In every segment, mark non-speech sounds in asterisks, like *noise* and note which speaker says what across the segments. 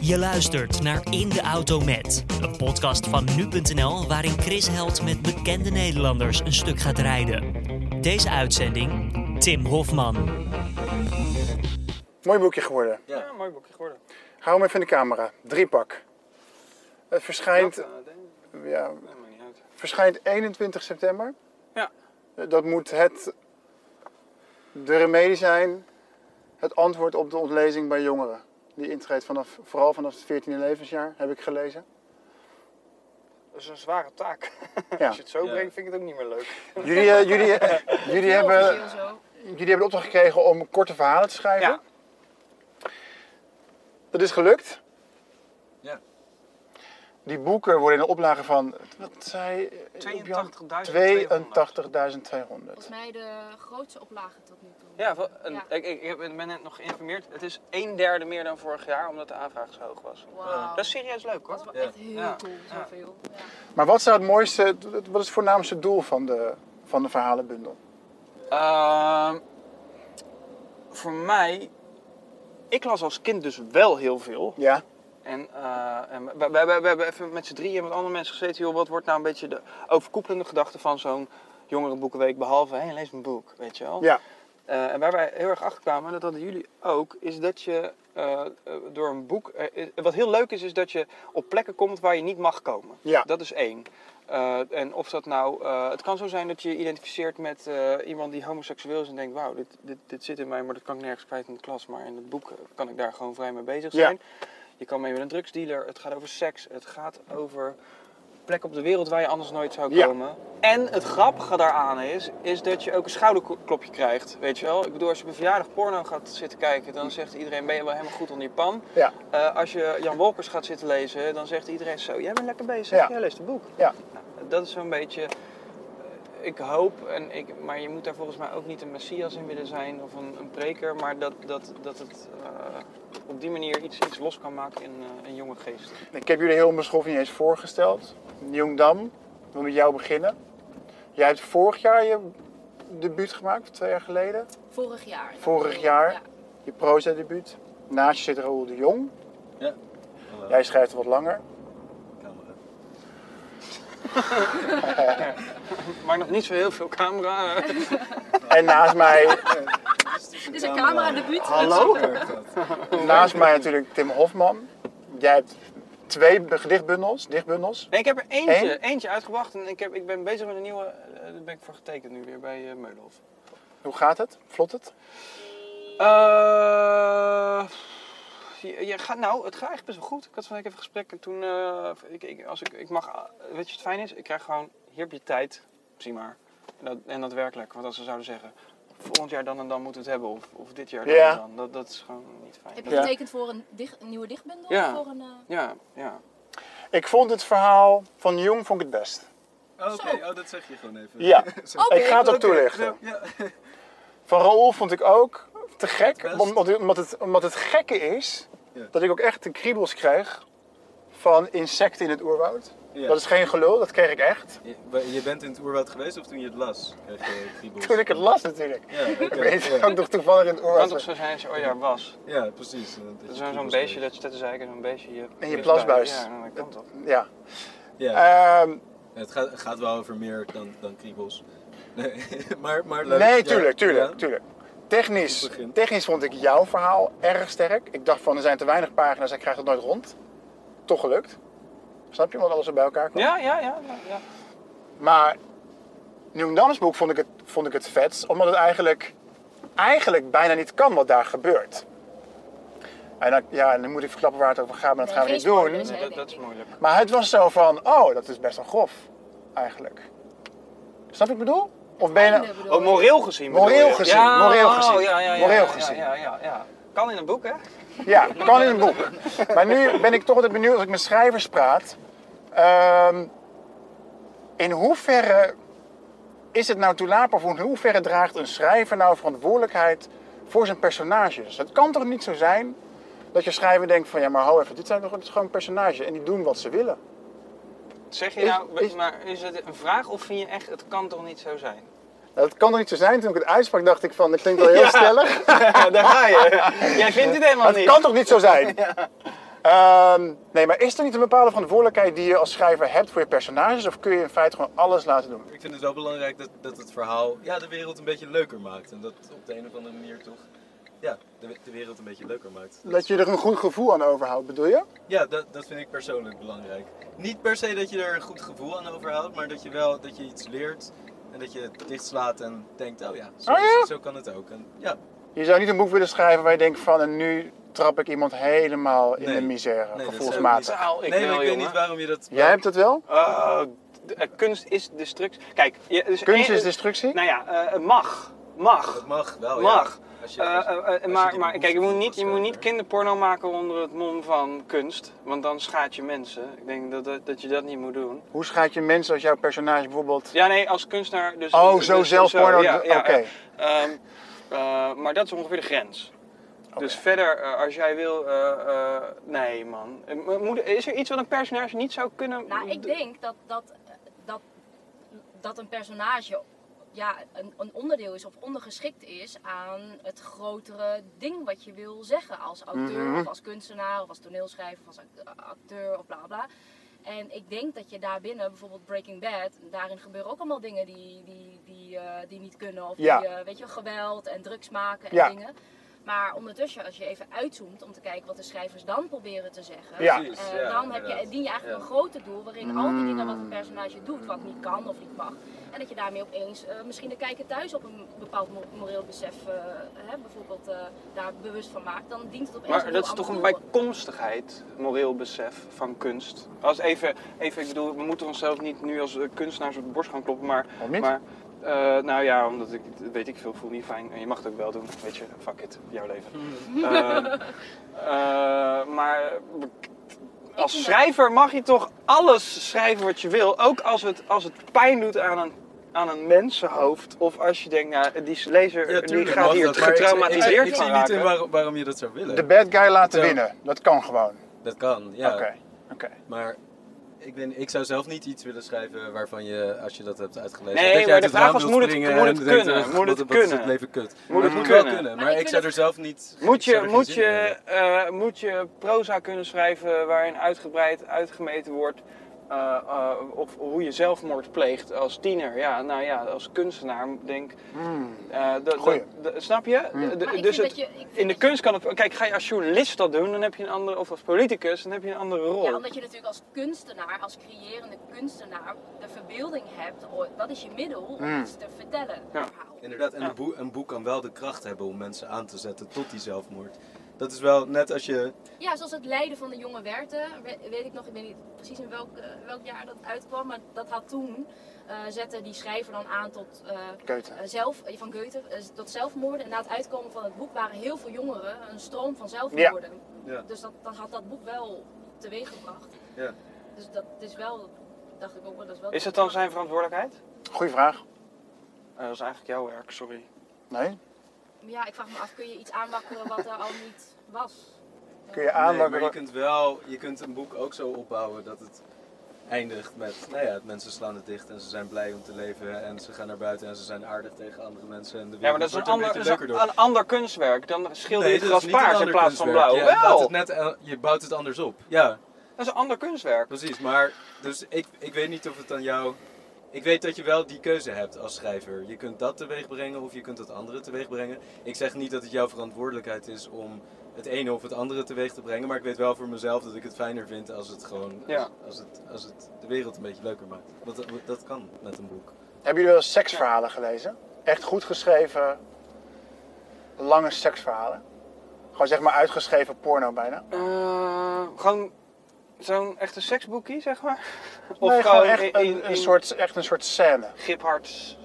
Speaker 1: Je luistert naar In de Auto Met, een podcast van nu.nl waarin Chris Held met bekende Nederlanders een stuk gaat rijden. Deze uitzending, Tim Hofman.
Speaker 2: Mooi boekje geworden.
Speaker 3: Ja, een mooi boekje geworden.
Speaker 2: Hou hem even in de camera. Driepak. Het verschijnt,
Speaker 3: Dat, eh, denk ik.
Speaker 2: ja,
Speaker 3: Nee, maakt niet uit.
Speaker 2: verschijnt 21 september.
Speaker 3: Ja.
Speaker 2: Dat moet het, de remedie zijn, het antwoord op de ontlezing bij jongeren. Die intreedt vanaf, vooral vanaf het 14e levensjaar, heb ik gelezen.
Speaker 3: Dat is een zware taak.
Speaker 2: Ja.
Speaker 3: Als je het zo
Speaker 4: Ja.
Speaker 3: brengt, vind ik het ook niet meer leuk.
Speaker 2: Jullie, eh, jullie, eh, jullie, hebben, jullie hebben de opdracht gekregen om korte verhalen te schrijven.
Speaker 3: Ja.
Speaker 2: Dat is gelukt.
Speaker 4: Ja.
Speaker 2: Die boeken worden in een oplage van, wat zei Jan?
Speaker 3: 82.000.
Speaker 2: 82.200.
Speaker 5: Volgens mij de grootste oplage tot nu toe.
Speaker 3: Ja, wel, een-
Speaker 5: Ja.
Speaker 3: Ik, ik, ik ben net nog geïnformeerd. Het is een derde meer dan vorig jaar, omdat de aanvraag zo hoog was.
Speaker 5: Wauw.
Speaker 3: Dat is serieus leuk
Speaker 5: Dat is
Speaker 3: hoor.
Speaker 5: wel
Speaker 4: Ja.
Speaker 5: echt heel
Speaker 3: Ja.
Speaker 5: cool,
Speaker 3: Ja.
Speaker 5: zoveel. Ja.
Speaker 2: Maar wat zou het mooiste, wat is het voornaamste doel van de, van de verhalenbundel?
Speaker 3: Ehm, voor mij, ik las als kind dus wel heel veel.
Speaker 2: Ja,
Speaker 3: En, eh, en we, we- we- we hebben even met z'n drieën met andere mensen gezeten, joh, wat wordt nou een beetje de overkoepelende gedachte van zo'n jongerenboekenweek, behalve, hé, lees een boek, weet je wel.
Speaker 2: ja.
Speaker 3: Eh, en waar wij heel erg achter kwamen, en dat hadden jullie ook, is dat je eh, eh, door een boek. eh, eh, wat heel leuk is, is dat je op plekken komt waar je niet mag komen.
Speaker 2: Ja.
Speaker 3: Dat is één. Eh, en of dat nou. eh, het kan zo zijn dat je je identificeert met eh, iemand die homoseksueel is en denkt: wauw, dit, dit, dit zit in mij, maar dat kan ik nergens kwijt in de klas. Maar in het boek eh, kan ik daar gewoon vrij mee bezig
Speaker 2: Ja.
Speaker 3: zijn. Je kan mee met een drugsdealer. Het gaat over seks. Het gaat over plekken op de wereld waar je anders nooit zou
Speaker 2: Ja.
Speaker 3: komen. En het grappige daaraan is, is dat je ook een schouderklopje krijgt. Weet je wel? Ik bedoel, als je op een verjaardag porno gaat zitten kijken, dan zegt iedereen, ben je wel helemaal goed onder je pan.
Speaker 2: Ja.
Speaker 3: Eh, als je Jan Wolkers gaat zitten lezen, dan zegt iedereen zo, jij bent lekker bezig,
Speaker 2: Ja.
Speaker 3: jij leest een boek.
Speaker 2: Ja.
Speaker 3: Nou, dat is zo'n beetje, eh, ik hoop, en ik, maar je moet daar volgens mij ook niet een messias in willen zijn of een, een preker, maar dat, dat, dat het eh, op die manier iets, iets los kan maken in eh, een jonge geest.
Speaker 2: Ik heb jullie heel onbeschoft niet eens voorgesteld. Jongdam, ik wil met jou beginnen. Jij hebt vorig jaar je debuut gemaakt, of twee jaar geleden.
Speaker 5: Vorig jaar. in
Speaker 2: Vorig
Speaker 5: april.
Speaker 2: jaar?
Speaker 5: Ja.
Speaker 2: Je proza debuut. Naast je zit Raoul de Jong.
Speaker 4: Hallo,
Speaker 2: Jij schrijft wat langer.
Speaker 4: camera.
Speaker 3: Maar nog niet zo heel veel camera. eh.
Speaker 2: En naast mij,
Speaker 5: Dit is een camera debuut.
Speaker 2: hallo, naast mij natuurlijk Tim Hofman. Jij hebt twee be- gedichtbundels, dichtbundels.
Speaker 3: Nee, ik heb er eentje,
Speaker 2: Eén?
Speaker 3: eentje uitgebracht en ik, heb, ik ben bezig met een nieuwe. eh, Daar ben ik voor getekend nu weer bij eh Meulenhof.
Speaker 2: Hoe gaat het? Vlot het?
Speaker 3: Eh, je, je gaat, nou, het gaat echt best wel goed. Ik had van de week even gesprek en toen. eh, ik, ik, als ik, ik mag, eh, weet je wat het fijn is? Ik krijg gewoon, hier heb je tijd, zie maar. En dat, en dat werkt lekker, want als ze zouden zeggen. Volgend jaar dan en dan moeten we het hebben, of, of dit jaar dan
Speaker 2: Ja.
Speaker 3: en dan. Dat, dat is gewoon niet fijn.
Speaker 5: Heb je
Speaker 2: Ja.
Speaker 5: getekend voor een, dicht- een nieuwe dichtbundel?
Speaker 3: Ja.
Speaker 5: Voor een, eh,
Speaker 3: Ja, ja.
Speaker 2: Ik vond het verhaal van Jong vond ik het best.
Speaker 4: Oh, Oké,
Speaker 5: Zo.
Speaker 4: oh, dat zeg je gewoon even.
Speaker 2: Ja,
Speaker 4: Zo.
Speaker 5: Oké.
Speaker 2: ik ga het ook
Speaker 4: Oké, nou,
Speaker 2: toelichten.
Speaker 4: Ja, ja.
Speaker 2: Van Raoul vond ik ook te gek,
Speaker 4: Best.
Speaker 2: omdat, omdat, het, omdat het gekke is
Speaker 4: Ja.
Speaker 2: dat ik ook echt de kriebels krijg van insecten in het oerwoud.
Speaker 4: Ja.
Speaker 2: Dat is geen gelul, dat kreeg ik echt. *laughs*
Speaker 4: Je- maar Je bent in het oerwoud geweest of toen je het las? Kreeg je kriebels?
Speaker 2: Toen ik het las natuurlijk.
Speaker 4: Ja, oké,
Speaker 2: Ik weet het
Speaker 4: ja.
Speaker 2: ook nog toevallig in het
Speaker 3: kan toch
Speaker 2: oerwoud.
Speaker 3: zo zijn als je oh ja was.
Speaker 4: Ja, precies. eh, dat
Speaker 3: Dat
Speaker 4: je
Speaker 3: is zo'n
Speaker 4: kriebels
Speaker 3: beestje dat
Speaker 4: kreeg.
Speaker 3: je dat is eigenlijk zo'n beestje je
Speaker 2: In je plasbuis.
Speaker 3: Ja, nou, dat kan toch.
Speaker 2: Ja.
Speaker 4: Ja,
Speaker 2: Ehm,
Speaker 4: het gaat, het gaat wel over meer dan, dan kriebels. Nee, *laughs* maar, maar leuk.
Speaker 2: nee,
Speaker 4: Ja,
Speaker 2: tuurlijk, tuurlijk,
Speaker 4: *laughs* ja.
Speaker 2: tuurlijk. Technisch,
Speaker 4: Goed begin.
Speaker 2: technisch vond ik jouw verhaal erg sterk. Ik dacht van, er zijn te weinig pagina's, ik krijg het nooit rond. Toch gelukt. Snap je? Want alles er bij elkaar kwam.
Speaker 3: Ja, ja, ja. ja, ja.
Speaker 2: Maar Nieuw boek vond ik het, vond ik het vetst, omdat het eigenlijk, eigenlijk bijna niet kan wat daar gebeurt. En dan, ja, en dan moet ik verklappen waar het over gaat, maar dat
Speaker 5: Nee,
Speaker 2: gaan we
Speaker 5: geen
Speaker 2: niet doen.
Speaker 5: spoilers, hè.
Speaker 3: Nee, dat, dat is moeilijk.
Speaker 2: Maar het was zo van, oh, dat is best wel grof, eigenlijk. Snap je wat ik bedoel? Of ben je... nou-
Speaker 5: bedoel
Speaker 3: Oh,
Speaker 5: ik.
Speaker 3: moreel gezien bedoel
Speaker 2: Moreel
Speaker 3: je?
Speaker 2: gezien,
Speaker 3: Ja,
Speaker 2: moreel
Speaker 3: oh,
Speaker 2: gezien,
Speaker 3: Ja, ja, ja,
Speaker 2: moreel
Speaker 3: ja,
Speaker 2: gezien.
Speaker 3: Ja, ja, ja. Kan in een boek, hè?
Speaker 2: Ja, kan in een boek. Maar nu ben ik toch altijd benieuwd als ik met schrijvers praat. ehm, in hoeverre is het nou toelaatbaar of in hoeverre draagt een schrijver nou verantwoordelijkheid voor zijn personages? Het kan toch niet zo zijn dat je schrijver denkt van ja, maar hou even, dit zijn toch dit is gewoon personages en die doen wat ze willen.
Speaker 3: Zeg je
Speaker 2: Is-
Speaker 3: nou,
Speaker 2: is-
Speaker 3: maar is het een vraag of vind je echt, het kan toch niet zo zijn?
Speaker 2: Nou, dat kan toch niet zo zijn? Toen ik het uitsprak dacht ik van, dat klinkt wel heel
Speaker 3: Ja.
Speaker 2: stellig.
Speaker 3: daar ga je. Jij vindt het helemaal
Speaker 2: Het
Speaker 3: niet. *laughs*
Speaker 2: kan toch niet zo zijn? Ehm, nee, maar is er niet een bepaalde verantwoordelijkheid die je als schrijver hebt voor je personages? Of kun je in feite gewoon alles laten doen?
Speaker 4: Ik vind het wel belangrijk dat, dat het verhaal ja, de wereld een beetje leuker maakt. En dat op de een of andere manier toch ja, de, we- de wereld een beetje leuker maakt.
Speaker 2: Dat je er een goed gevoel aan overhoudt, bedoel je?
Speaker 4: Ja, dat, dat vind ik persoonlijk belangrijk. Niet per se dat je er een goed gevoel aan overhoudt, maar dat je wel dat je iets leert en dat je het dichtslaat en denkt, oh ja, zo,
Speaker 2: Oh ja?
Speaker 4: zo kan het ook. En, ja,
Speaker 2: Je zou niet een boek willen schrijven waar je denkt van en nu trap ik iemand helemaal in
Speaker 4: Nee.
Speaker 2: de misère,
Speaker 4: Nee, dat
Speaker 2: gevoelsmatig.
Speaker 4: zou
Speaker 3: Taal, ik
Speaker 4: nee,
Speaker 3: wel,
Speaker 4: maar ik weet
Speaker 3: jongen.
Speaker 4: niet waarom je dat...
Speaker 2: Jij hebt dat wel?
Speaker 3: Eh, d- eh, kunst is destructie. Kijk, je, dus
Speaker 2: Kunst
Speaker 3: één-
Speaker 2: is destructie?
Speaker 3: Nou ja, eh, mag. Mag.
Speaker 4: Dat mag wel,
Speaker 3: Mag.
Speaker 4: Oh, ja. Als je-
Speaker 3: Eh,
Speaker 4: als je-
Speaker 3: eh, eh,
Speaker 4: als je
Speaker 3: maar
Speaker 4: die
Speaker 3: maar kijk, je moet,
Speaker 4: behoefte
Speaker 3: niet, je
Speaker 4: voelt
Speaker 3: moet
Speaker 4: als
Speaker 3: niet kinderporno maken onder het mom van kunst. Want dan schaadt je mensen. Ik denk dat, dat, dat je dat niet moet doen.
Speaker 2: Hoe schaadt je mensen als jouw personage bijvoorbeeld...
Speaker 3: Ja, nee, als kunstenaar. Dus,
Speaker 2: Oh,
Speaker 3: dus-
Speaker 2: zo
Speaker 3: dus-
Speaker 2: zelf porno.
Speaker 3: ja, ja,
Speaker 2: Oké.
Speaker 3: ja. Ehm, eh, maar dat is ongeveer de grens. Dus verder, eh, als jij wil. eh, eh, nee, man. Eh, maar moet- Is er iets wat een personage niet zou kunnen.
Speaker 5: Nou, ik denk dat, dat, eh, dat, dat een personage ja, een, een onderdeel is of ondergeschikt is aan het grotere ding wat je wil zeggen als auteur
Speaker 2: Mhm.
Speaker 5: of als kunstenaar of als toneelschrijver of als act- acteur of bla bla. En ik denk dat je daarbinnen, bijvoorbeeld Breaking Bad, daarin gebeuren ook allemaal dingen die, die, die, eh, die niet kunnen. Of
Speaker 2: Ja.
Speaker 5: die, eh, weet je, geweld en drugs maken en
Speaker 2: Ja.
Speaker 5: dingen. Maar ondertussen, als je even uitzoomt om te kijken wat de schrijvers dan proberen te zeggen,
Speaker 2: Ja.
Speaker 4: Precies,
Speaker 5: eh,
Speaker 4: ja,
Speaker 5: dan heb je,
Speaker 4: inderdaad.
Speaker 5: dien je eigenlijk
Speaker 4: Ja.
Speaker 5: een groter doel waarin al die dingen wat een personage doet, wat niet kan of niet mag. En dat je daarmee opeens eh, misschien de kijker thuis op een bepaald mo- moreel besef eh, hè, bijvoorbeeld eh, daar bewust van maakt, dan dient het opeens
Speaker 3: Maar
Speaker 5: heel
Speaker 3: dat is toch een
Speaker 5: ander doel.
Speaker 3: bijkomstigheid, moreel besef van kunst. Als even, even, ik bedoel, we moeten onszelf niet nu als eh, kunstenaars op de borst gaan kloppen, maar.
Speaker 2: Waarom niet?
Speaker 3: maar eh, nou ja, omdat ik, dat weet ik veel, voel niet fijn. En je mag het ook wel doen, weet je, fuck it, jouw leven.
Speaker 5: Hmm. *laughs*
Speaker 3: Ehm, eh, maar als schrijver mag je toch alles schrijven wat je wil. Ook als het, als het pijn doet aan een, aan een mensenhoofd. Of als je denkt, nou, die lezer
Speaker 4: Ja,
Speaker 3: die
Speaker 4: tuurlijk
Speaker 3: gaat
Speaker 4: mag
Speaker 3: hier
Speaker 4: dat, maar ik- ik-
Speaker 3: getraumatiseerd
Speaker 4: Ik
Speaker 3: van
Speaker 4: zie niet in
Speaker 3: raken.
Speaker 4: waarom, waarom je dat zou willen.
Speaker 2: De bad guy laten
Speaker 4: Ja.
Speaker 2: winnen. Dat kan gewoon.
Speaker 4: Dat kan, ja.
Speaker 2: Oké. oké.
Speaker 4: Maar ik, ben, ik zou zelf niet iets willen schrijven waarvan je, als je dat hebt uitgelezen...
Speaker 3: Nee,
Speaker 4: dat je
Speaker 3: maar
Speaker 4: uit
Speaker 3: de
Speaker 4: het
Speaker 3: vraag
Speaker 4: raam
Speaker 3: was,
Speaker 4: wilt
Speaker 3: moet het-
Speaker 4: springen
Speaker 3: moet
Speaker 4: en
Speaker 3: het
Speaker 4: denkt,
Speaker 3: kunnen?
Speaker 4: "Ach,
Speaker 3: Moet
Speaker 4: wat-
Speaker 3: het
Speaker 4: wat is
Speaker 3: kunnen?
Speaker 4: het leven kut.
Speaker 3: Moet het
Speaker 4: het moet
Speaker 3: kunnen?
Speaker 4: wel kunnen,
Speaker 5: Maar
Speaker 4: maar
Speaker 5: ik
Speaker 4: ik
Speaker 5: vind
Speaker 4: zou er
Speaker 5: het-
Speaker 4: zelf niet...
Speaker 3: *laughs* Moet
Speaker 4: ik zou
Speaker 3: je,
Speaker 4: er geen
Speaker 3: moet,
Speaker 4: zin in
Speaker 3: je,
Speaker 4: hebben.
Speaker 3: eh, moet je proza kunnen schrijven waarin uitgebreid uitgemeten wordt eh, eh, of hoe je zelfmoord pleegt als tiener? Ja, nou ja, als kunstenaar denk
Speaker 4: Hmm.
Speaker 3: eh, dat- dat-
Speaker 2: Goeie.
Speaker 3: dat- Snap je? De- de-
Speaker 5: Maar ik
Speaker 3: dus
Speaker 5: vind
Speaker 3: het-
Speaker 5: dat je- ik vind
Speaker 3: in de
Speaker 5: dat je-
Speaker 3: kunst kan het... Kijk, ga je als journalist dat doen, dan heb je een andere... Of als politicus, dan heb je een andere rol.
Speaker 5: Ja, omdat je natuurlijk als kunstenaar, als creërende kunstenaar, de verbeelding hebt, o- dat is je middel om iets te vertellen.
Speaker 3: Mm. Ja.
Speaker 5: Een verhaal.
Speaker 4: Inderdaad,
Speaker 3: Ah.
Speaker 4: en een, boek, een boek kan wel de kracht hebben om mensen aan te zetten tot die zelfmoord. Dat is wel net als je...
Speaker 5: Ja, zoals het lijden van de jonge Werther. We- Weet ik nog, ik weet niet precies in welk, eh, welk jaar dat uitkwam. Maar dat had toen, eh, zette die schrijver dan aan tot... eh,
Speaker 2: Goethe.
Speaker 5: eh, zelf, eh, van Goethe, eh, tot zelfmoorden. En na het uitkomen van het boek waren heel veel jongeren een stroom van zelfmoorden.
Speaker 4: Ja.
Speaker 5: Dus dat, dat had dat boek wel teweeggebracht.
Speaker 4: Ja.
Speaker 5: Dus dat is wel, dacht ik ook wel, dat is wel...
Speaker 3: Is dat dan zijn verantwoordelijkheid?
Speaker 2: Goeie vraag.
Speaker 3: Eh, dat is eigenlijk jouw werk, sorry.
Speaker 2: Nee?
Speaker 5: Ja, ik vraag me af, kun je iets aanwakkeren wat er al niet was?
Speaker 2: Kun je
Speaker 4: Nee,
Speaker 2: aanmaken.
Speaker 4: maar je kunt wel... Je kunt een boek ook zo opbouwen dat het eindigt met... Nou ja, mensen slaan het dicht en ze zijn blij om te leven. En ze gaan naar buiten en ze zijn aardig tegen andere mensen. En de wereld
Speaker 3: Ja, maar dat is een
Speaker 4: wordt er
Speaker 3: ander,
Speaker 4: beetje
Speaker 3: dat is
Speaker 4: leuker door.
Speaker 3: een, een ander kunstwerk. Dan schilder je het
Speaker 4: Nee,
Speaker 3: gras
Speaker 4: dat is niet een
Speaker 3: paars in
Speaker 4: ander
Speaker 3: plaats van
Speaker 4: kunstwerk.
Speaker 3: blauw.
Speaker 4: Ja, Je, bouwt
Speaker 3: wel!
Speaker 4: het net, el- je bouwt het anders op. Ja,
Speaker 3: Dat is een ander kunstwerk.
Speaker 4: precies. Maar dus ik, ik weet niet of het aan jou. Ik weet dat je wel die keuze hebt als schrijver. Je kunt dat teweeg brengen of je kunt dat andere teweeg brengen. Ik zeg niet dat het jouw verantwoordelijkheid is om het ene of het andere teweeg te brengen. Maar ik weet wel voor mezelf dat ik het fijner vind als het gewoon.
Speaker 3: Ja.
Speaker 4: Als, als, het, als het de wereld een beetje leuker maakt. Want dat, dat kan met een boek.
Speaker 2: Hebben jullie wel eens seksverhalen gelezen? Echt goed geschreven, lange seksverhalen? Gewoon zeg maar uitgeschreven porno bijna.
Speaker 3: Eh, gewoon zo'n echte seksboekie, zeg maar?
Speaker 2: Of
Speaker 3: Of
Speaker 2: nee, gewoon
Speaker 3: gewoon
Speaker 2: echt
Speaker 3: in-
Speaker 2: een,
Speaker 3: in-
Speaker 2: een
Speaker 3: in-
Speaker 2: soort, echt een soort scène.
Speaker 3: Giphards.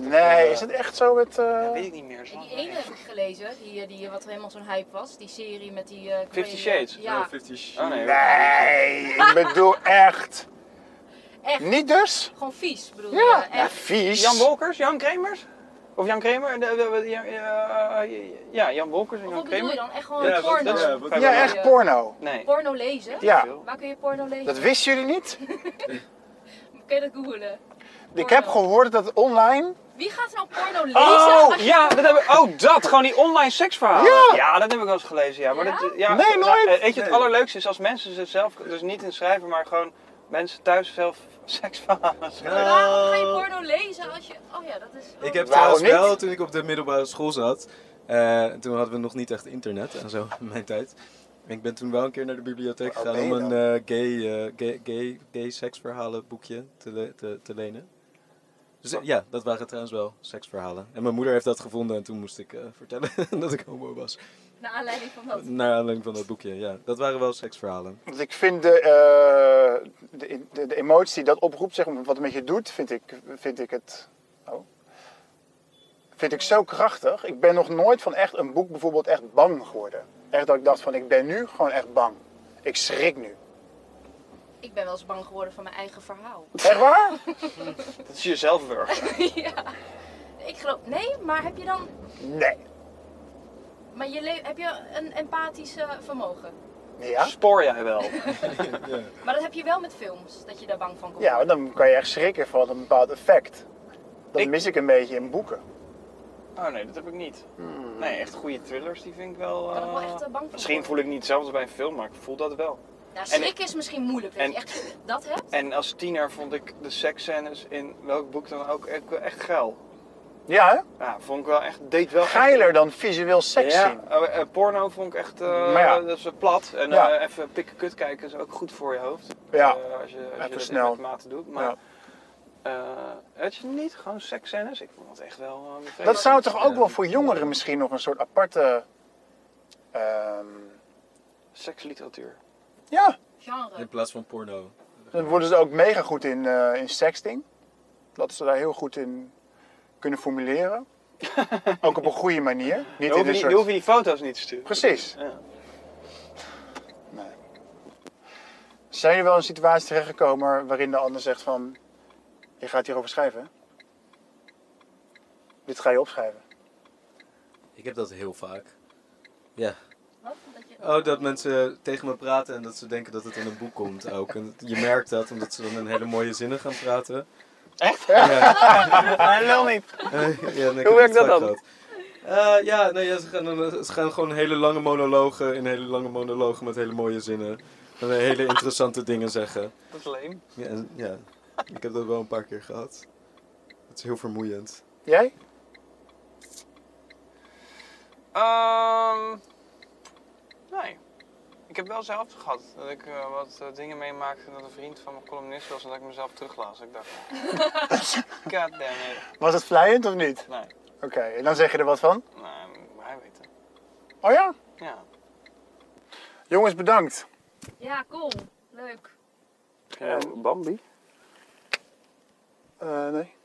Speaker 2: Nee, is het echt zo met... eh,
Speaker 3: weet ik niet meer. Zo.
Speaker 5: Die ene heb ik gelezen, die, eh, die, wat helemaal zo'n hype was. Die serie met die... eh,
Speaker 3: Fifty
Speaker 5: Korean-
Speaker 3: Shades?
Speaker 5: Ja,
Speaker 4: Oh, Fifty Shades.
Speaker 3: Oh, nee.
Speaker 2: Nee, ik bedoel echt.
Speaker 5: echt.
Speaker 2: Niet dus?
Speaker 5: Gewoon vies, bedoel je.
Speaker 2: Ja, ja
Speaker 5: echt.
Speaker 2: vies.
Speaker 3: Jan Wolkers? Jan Kremers? Of Jan Kremer? De- de- de- ja, ja, ja, Jan Wolkers en
Speaker 5: Of
Speaker 3: Jan
Speaker 5: wat bedoel je
Speaker 3: Kremer.
Speaker 5: dan? Echt gewoon
Speaker 4: Ja, wat-
Speaker 5: porno.
Speaker 3: dat is-
Speaker 4: ja, wat-
Speaker 2: Ja, echt porno.
Speaker 3: Nee.
Speaker 5: Porno lezen?
Speaker 2: Ja.
Speaker 5: Waar kun je porno lezen?
Speaker 2: Dat wisten jullie niet?
Speaker 5: Kun je dat googelen?
Speaker 2: Ik heb gehoord dat online
Speaker 5: Wie gaat er nou porno lezen?
Speaker 3: Oh,
Speaker 5: als je-
Speaker 3: ja, dat heb ik, oh, dat, gewoon die online seksverhalen.
Speaker 2: Ja.
Speaker 3: dat heb ik wel eens gelezen, ja. Maar
Speaker 5: Ja?
Speaker 3: Dat, ja
Speaker 2: Nee, nooit.
Speaker 3: eh, weet je, het
Speaker 4: Nee.
Speaker 3: allerleukste is als mensen zichzelf, dus niet in schrijven, maar gewoon mensen thuis zelf *laughs* seksverhalen schrijven.
Speaker 5: Maar Waarom ga je porno lezen als je... Oh ja, dat is...
Speaker 4: Ik heb
Speaker 2: Waarom
Speaker 4: trouwens wel,
Speaker 2: niet?
Speaker 4: toen ik op de middelbare school zat, eh, toen hadden we nog niet echt internet en zo *laughs* in mijn tijd. En Ik ben toen wel een keer naar de bibliotheek
Speaker 2: Hoe oud
Speaker 4: gegaan om
Speaker 2: Oh, ben je
Speaker 4: een eh, gay, eh, gay, gay, gay seksverhalen boekje te, le- te, te lenen. Dus
Speaker 2: Oh.
Speaker 4: eh, ja, dat waren trouwens wel seksverhalen. En mijn moeder heeft dat gevonden en toen moest ik eh, *laughs* vertellen dat ik homo was.
Speaker 5: Naar aanleiding van dat.
Speaker 3: Mm.
Speaker 4: Naar aanleiding van dat boekje, ja. Dat waren wel seksverhalen.
Speaker 2: Want ik vind de, eh, de, de, de emotie die dat oproept, zeg maar, wat het met je doet, vind ik, vind ik het. Oh. Vind ik zo krachtig. Ik ben nog nooit van echt een boek bijvoorbeeld echt bang geworden. Echt dat ik dacht van ik ben nu gewoon echt bang. Ik schrik nu.
Speaker 5: Ik ben wel eens bang geworden van mijn eigen verhaal. *laughs*
Speaker 2: Echt waar?
Speaker 3: Dat is jezelf wurgen.
Speaker 5: Ik geloof... Nee, maar heb je dan...
Speaker 2: Nee.
Speaker 5: Maar je le- heb je een empathisch eh, vermogen?
Speaker 2: Ja?
Speaker 3: Spoor jij wel.
Speaker 5: Maar dat heb je wel met films, dat je daar bang van komt.
Speaker 2: Ja, dan kan je echt schrikken van een bepaald effect. Dat
Speaker 3: Ik-
Speaker 2: mis ik een beetje in boeken.
Speaker 3: Oh nee, dat heb ik niet.
Speaker 2: Hmm.
Speaker 3: Nee, echt goede thrillers, die vind ik wel...
Speaker 5: Kan ik wel
Speaker 3: eh,
Speaker 5: echt, eh, bang voor
Speaker 3: Misschien
Speaker 5: worden.
Speaker 3: voel ik niet hetzelfde als bij een film, maar ik voel dat wel.
Speaker 5: Nou,
Speaker 3: En-
Speaker 5: schrik is misschien moeilijk, dat
Speaker 3: en-
Speaker 5: je echt dat hebt.
Speaker 3: En als tiener vond ik de seksscènes in welk boek dan ook echt, wel echt geil.
Speaker 2: Ja, hè?
Speaker 3: Ja, vond ik wel echt, deed wel echt-
Speaker 2: geiler dan visueel seks
Speaker 3: ja,
Speaker 2: zien.
Speaker 3: eh, eh, porno vond ik echt, eh,
Speaker 2: Maar ja.
Speaker 3: dat is eh, plat. En eh,
Speaker 2: Ja.
Speaker 3: even pikken kut kijken is ook goed voor je hoofd.
Speaker 2: Ja.
Speaker 3: Eh, als je, als
Speaker 2: Even
Speaker 3: je dat
Speaker 2: snel.
Speaker 3: met mate doet. Maar
Speaker 2: Ja.
Speaker 3: eh, had je niet gewoon seksscènes? Ik vond dat echt wel... eh, bevredigend.
Speaker 2: Dat zou toch ook wel voor jongeren misschien nog een soort aparte. ehm,
Speaker 3: Seksliteratuur.
Speaker 2: Ja,
Speaker 5: Genre.
Speaker 4: In plaats van porno.
Speaker 2: dan worden ze ook mega goed in, eh, in sexting. Dat ze daar heel goed in kunnen
Speaker 3: *laughs*
Speaker 2: formuleren. ook op een goede manier.
Speaker 3: Dan
Speaker 2: Niet
Speaker 3: hoef,
Speaker 2: in
Speaker 3: je,
Speaker 2: een
Speaker 3: die- dan hoef
Speaker 2: soort...
Speaker 3: je die foto's niet te sturen.
Speaker 2: Precies.
Speaker 3: Ja.
Speaker 2: Nee. Zijn jullie wel in een situatie terechtgekomen waarin de ander zegt van... Je gaat hierover schrijven, hè? Dit ga je opschrijven.
Speaker 4: Ik heb dat heel vaak. Ja.
Speaker 5: Wat? Dat je...
Speaker 4: Oh, dat mensen tegen me praten en dat ze denken dat het in een boek komt ook. En je merkt dat omdat ze dan in hele mooie zinnen gaan praten.
Speaker 3: Echt? *laughs*
Speaker 4: Ja,
Speaker 3: Nee, lul niet.
Speaker 4: Eh, ja, nee,
Speaker 3: Hoe werkt dat
Speaker 4: vaak
Speaker 3: dan?
Speaker 4: Eh, ja, nee, ja, ze, gaan, dan- eh, ze gaan gewoon hele lange monologen in hele lange monologen met hele mooie zinnen. En eh, hele interessante dingen zeggen.
Speaker 3: Dat is leem.
Speaker 4: Ja, en- ja, ik heb dat wel een paar keer gehad. Het is heel vermoeiend.
Speaker 2: Jij?
Speaker 3: Ehm nee. Ik heb wel zelf gehad dat ik eh, wat eh, dingen meemaakte dat een vriend van mijn columnist was en dat ik mezelf teruglas. Ik dacht, god damn it.
Speaker 2: Was het vlijend of niet?
Speaker 3: Nee,
Speaker 2: Oké, en dan zeg je er wat van?
Speaker 3: nee, maar hij weet het.
Speaker 2: Oh ja?
Speaker 3: Ja,
Speaker 2: Jongens, bedankt.
Speaker 5: Ja, cool. Leuk.
Speaker 3: Bambi?
Speaker 2: Eh, nee.